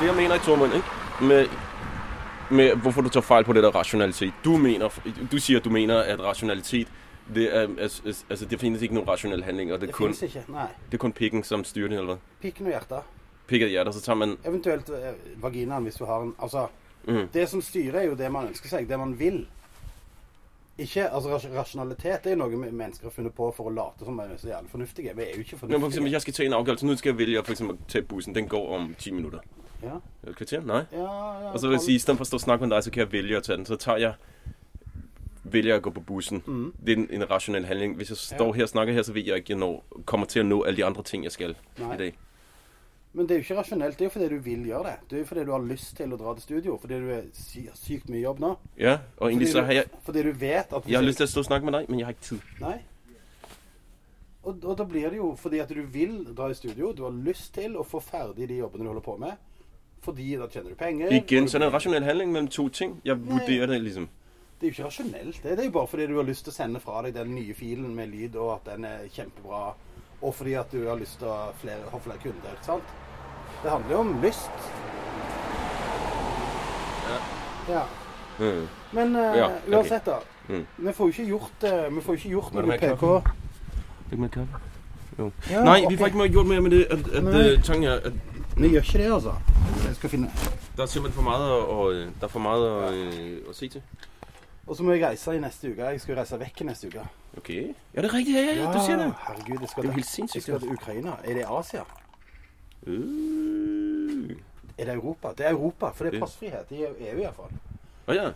det jeg mener i Tormund, ikke? Med, med hvorfor du tager fejl på det der rationalitet. Du, mener, du siger, du mener, at rationalitet, det er, altså, altså, det findes ikke nogen rationel handling, og det er Det kun, finnes ikke. Nei. det er kun pikken, som styrer det, eller hvad? Pikken og hjertet. Pikket hjertet, så tager man... Eventuelt eh, vaginaen, hvis du har en Altså, Mm. det som styrer, er jo det man ønsker seg, det man vil. Ikke, altså ras- Rasjonalitet er jo noe vi mennesker har funnet på for å late som man er så jævlig fornuftige. Vi er jo ikke Nå, fornuftige. for eksempel, jeg skal tage en afgørelse. Nu skal jeg vælge at for eksempel tage bussen. Den går om 10 minutter. ja. Eller et kvarter? Nej. Ja, ja, Og så vil jeg sige, i stedet for at stå og snakke med dig, så kan jeg vælge at tage den. Så tager jeg vælger at gå på bussen. Mhm. Det er en, en rationel handling. Hvis jeg står Ja. her og snakker her, så ved jeg ikke, jeg når, kommer til at nå alle de andre ting, jeg skal Nei. i dag. Men det er jo ikke rasjonelt. Det er jo fordi du vil gjøre det. Det er jo fordi du har lyst til å dra til studio. Fordi du er sy har sykt mye jobb nå. Ja, og egentlig Fordi så har jeg, du, fordi du vet at jeg har lyst til at stå og snakke med dig, men jeg har ikke tid. Nei. Og, og da blir det jo fordi at du vil dra i studio. Du har lyst til å få ferdig de jobbene du holder på med. Fordi da tjener du penger. Igen, og så er det en rationel handling mellem to ting. Jeg vurderer det liksom. Det er jo ikke rasjonelt. Det, det er jo bare fordi du har lyst til å sende fra deg den nye filen med lyd, og at den er kjempebra. Og fordi at du har lyst til å ha flere, ha flere kunder. ikke sant? Det handler jo om lyst. Ja. Mm. Men eh, Ja, ok. uansett, da. Mm. Vi får jo ikke gjort, eh, vi får jo ikke gjort Var noe det med mer PK. Fik man kaffe? Jo. Ja, Nej, vi ok. får ikke mere gjort mere med det, at, at Nej. øh, tanken er, at Vi gjør ikke det, altså. Jeg skal finne. der er simpelthen for meget, at- og, øh, der er for meget at, øh, at se til. Og så må jeg reise i neste uke. Jeg skal reise vekk i neste uke. Okay. Ja, det er rigtigt, ja, ja, ja, du siger det. Herregud, jeg Det er skal, jo helt til, jeg sindssygt. skal til Ukraina. Er det Asia? Øh. Er det Europa? Det er Europa, for det Ja. er passfrihet i EU iallfall. Nå ja,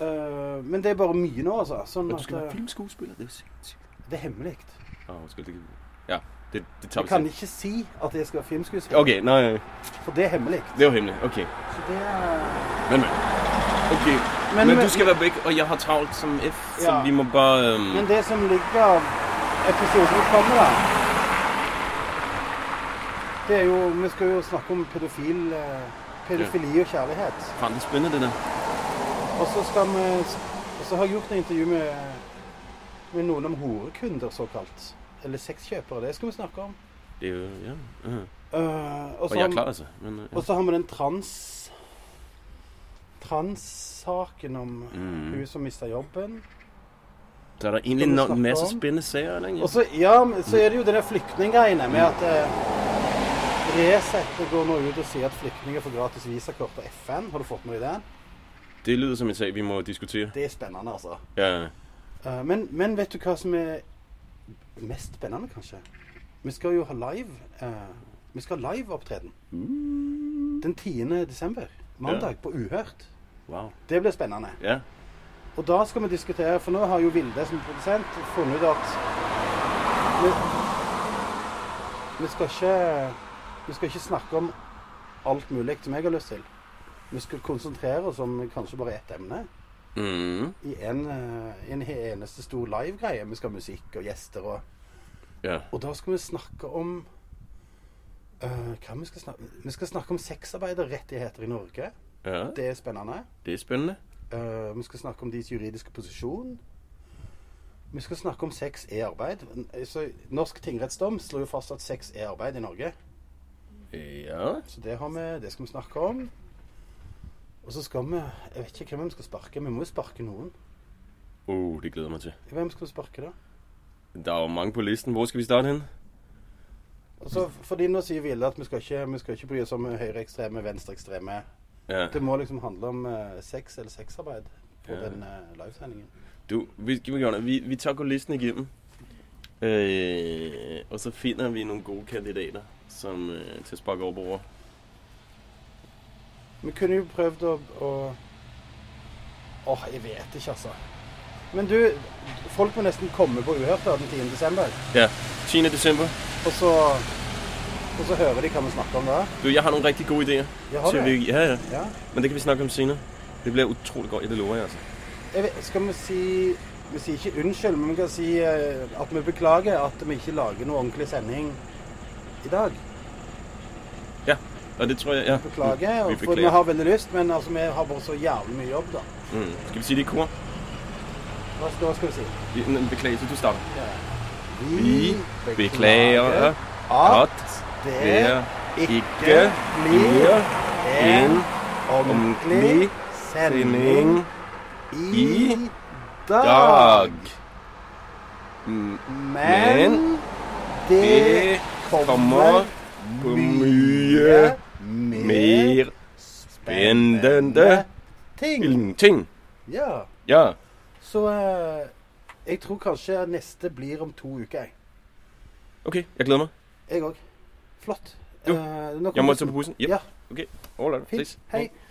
Uh, men det er bare mye nå, altså. Sånn og du at skal være eh, filmskuespiller, det er jo sindssykt. Det er hemmelig. Ah, undskyld, det kan... Ja, det, det tager Jeg vi kan selv. ikke si at jeg skal være filmskuespiller, Okay, nej, for det er hemmelig. det er jo hemmeligt, okay. Så det er Men, men. Okay, men, Men- men, men- du skal være væk, og jeg har travlt som F, så Ja. vi må bare... Øhm, Men det som ligger av episoden som kommer, da Det er jo Vi skal jo snakke om pedofil eh, pedofili og kjærlighet. Fan, det er spændende, det der. Og så skal vi Og så har jeg gjort et intervju med, med noen om horekunder, såkalt. Eller sexkjøpere. Det skal vi snakke om. Det er jo, ja. Uh. Eh, og Og så jeg har- er klar, altså. Men, øh, ja. Og så har vi den trans... Trans-saken om Mm. hun som mista jobben. Så er der egentlig Skal vi no- snakke masser om- spændende sager, eller ikke? Og så, ja, men så er det jo det der flyktninggreiene med at eh, Resette går nå ut og sier at flyktninger får gratis visakort av FN. Har du fått med deg det? Det lyder som en sag, vi må diskutere. Det er spennende, altså. Ja, Eh, men, men vet du hva som er mest spennende, kanskje? Vi skal jo ha live eh, Vi skal ha liveopptreden. Den 10. desember. Mandag på Uhørt. wow. Det blir spennende. Ja, Og da skal vi diskutere, for nå har jo Vilde som produsent funnet ut at vi, vi, skal ikke, vi skal ikke snakke om alt mulig som jeg har lyst til. Vi skal konsentrere oss om kanskje bare ett emne mm. i en, eh, en he- eneste stor live-greie. Vi skal ha musikk og gjester og ja. Og da skal vi snakke om eh, hva vi skal snakke Vi skal snakke om sexarbeiderrettigheter i Norge. ja, Det er spennende. det er spændende. Eh, vi skal snakke om deres juridiske posisjon. Vi skal snakke om sex er arbeid. Så Norsk tingrettsdom slår jo fast at sex er arbeid i Norge. Ja, Så det, har vi, det skal vi snakke om. Og så skal vi Jeg vet ikke hvem vi skal sparke. Vi må jo sparke noen. uh, det glæder jeg mig til. Hvem skal vi sparke, da? Der er jo mange på listen. Hvor skal vi starte hen? Og så, Altså, fordi Nå sier Ville at vi skal ikke, vi skal ikke bry oss om høyreekstreme, venstreekstreme. Ja. Det må liksom handle om eh, sex eller sexarbeid på Ja. den eh, livesendingen. Du, vi, vi, gør det. vi, vi tager kun listen igennem, øh, og så finder vi nogle gode kandidater som, øh, til at sparke over på over. Vi kunne jo prøvd å, å Åh, jeg vet ikke, altså. Men du, folk må nesten komme på Uhørt da, den 10. desember. Ja, 10. december. Og så, og så hører de hva vi snakker om da. Du, jeg har nogle rigtig gode idéer. Jeg har til, det. vi, ja, ja, Ja. men det kan vi snakke om senere. Det bliver utrolig godt, ja, det lover jeg altså. Jeg vet, skal vi si Vi sier ikke unnskyld, men vi kan si eh, at vi beklager at vi ikke lager noe ordentlig sending i dag. Og det tror jeg, ja. Beklager. Vi og For vi beklager. har veldig lyst, men altså, vi har bare så jævlig mye jobb, da. Mm. Skal vi sige det i kor? Hva skal, hva skal vi si? Vi- nej, Beklager, så du starter. Ja. Vi beklager, at at det det ikke ikke blir bliver En ordentlig ordentlig sending i i dag. dag. Mm, Men det Det kommer kommer mye mer spennende ting. ting. Ja. Ja. Så eh, jeg tror kanskje neste blir om to uker, jeg. OK, jeg gleder meg. Jeg òg. Flott. Jo. Eh, nå kommer Jeg må det- se på posen. Yep. Ja, All right, fint. ses. Hei.